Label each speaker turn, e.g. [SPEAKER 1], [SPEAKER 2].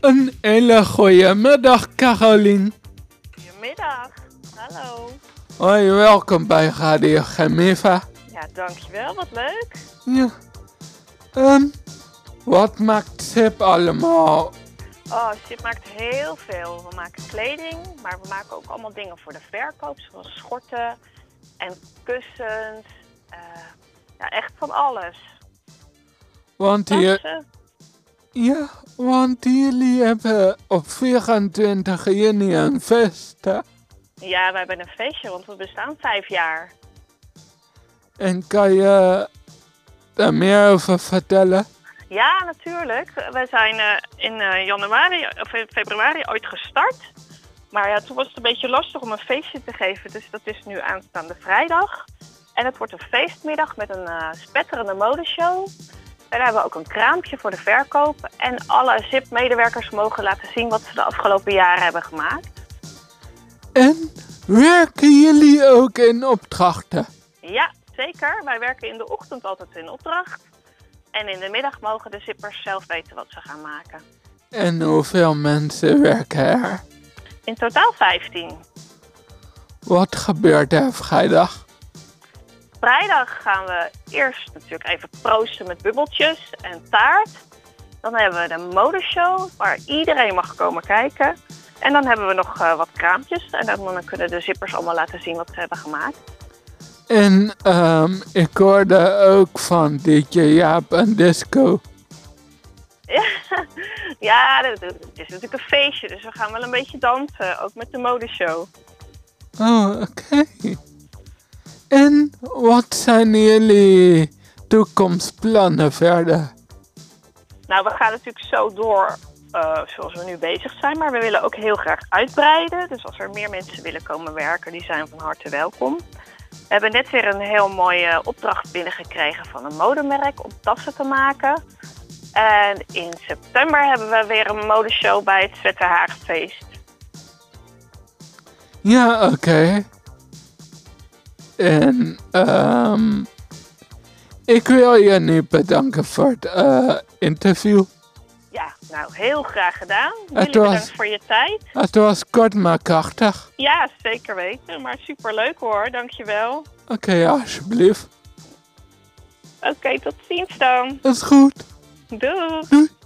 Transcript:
[SPEAKER 1] Een hele goede middag, Carolien.
[SPEAKER 2] Goedemiddag. Hallo.
[SPEAKER 1] Hoi, welkom bij Radio Gemiva.
[SPEAKER 2] Ja, dankjewel. Wat leuk.
[SPEAKER 1] Ja. Ehm, wat maakt Sip allemaal?
[SPEAKER 2] Oh, Sip maakt heel veel. We maken kleding, maar we maken ook allemaal dingen voor de verkoop. Zoals schorten en kussens. Eh, ja, echt van alles.
[SPEAKER 1] Want, je,
[SPEAKER 2] Tassen.
[SPEAKER 1] ja, want jullie hebben op 24 juni een feest. hè?
[SPEAKER 2] Ja, wij hebben een feestje, want we bestaan vijf jaar.
[SPEAKER 1] En kan je daar meer over vertellen?
[SPEAKER 2] Ja, natuurlijk. We zijn eh, in eh, januari of in februari ooit gestart. Maar ja, toen was het een beetje lastig om een feestje te geven. Dus dat is nu aanstaande vrijdag. En het wordt een feestmiddag met een eh, spetterende modeshow. En daar hebben we ook een kraampje voor de verkoop. En alle ZIP-medewerkers mogen laten zien wat ze de afgelopen jaren hebben gemaakt.
[SPEAKER 1] En werken jullie ook in opdrachten?
[SPEAKER 2] Ja, zeker. Wij werken in de ochtend altijd in opdracht. En in de middag mogen de zippers zelf weten wat ze gaan maken.
[SPEAKER 1] En hoeveel mensen werken er?
[SPEAKER 2] In totaal 15.
[SPEAKER 1] Wat gebeurt er vrijdag?
[SPEAKER 2] Vrijdag gaan we eerst natuurlijk even proosten met bubbeltjes en taart. Dan hebben we de modeshow waar iedereen mag komen kijken. En dan hebben we nog eh, wat kraampjes. En dan dan kunnen de zippers allemaal laten zien wat ze hebben gemaakt.
[SPEAKER 1] En ehm, ik hoorde ook van DJ Jaap en Disco.
[SPEAKER 2] Ja, dat- dat- het is natuurlijk een feestje, dus we gaan wel een beetje dansen. Ook met de modeshow.
[SPEAKER 1] Oh, oké. En wat zijn jullie toekomstplannen verder?
[SPEAKER 2] Nou, we gaan natuurlijk zo door eh, zoals we nu bezig zijn. Maar we willen ook heel graag uitbreiden. Dus als er meer mensen willen komen werken, die zijn van harte welkom. We hebben net weer een heel mooie opdracht binnengekregen van een modemerk om tassen te maken. En in september hebben we weer een modeshow bij het Zwetterhaagfeest.
[SPEAKER 1] Ja, oké. En ehm, ik wil je nu bedanken voor het eh, interview.
[SPEAKER 2] Ja, nou heel graag gedaan.
[SPEAKER 1] Het
[SPEAKER 2] Jullie
[SPEAKER 1] was-
[SPEAKER 2] bedankt voor je tijd.
[SPEAKER 1] Het was kort maar krachtig.
[SPEAKER 2] Ja, zeker weten. Maar superleuk hoor, dankjewel.
[SPEAKER 1] Oké, alsjeblieft.
[SPEAKER 2] Oké, tot ziens dan.
[SPEAKER 1] Dat is goed.
[SPEAKER 2] Doeg!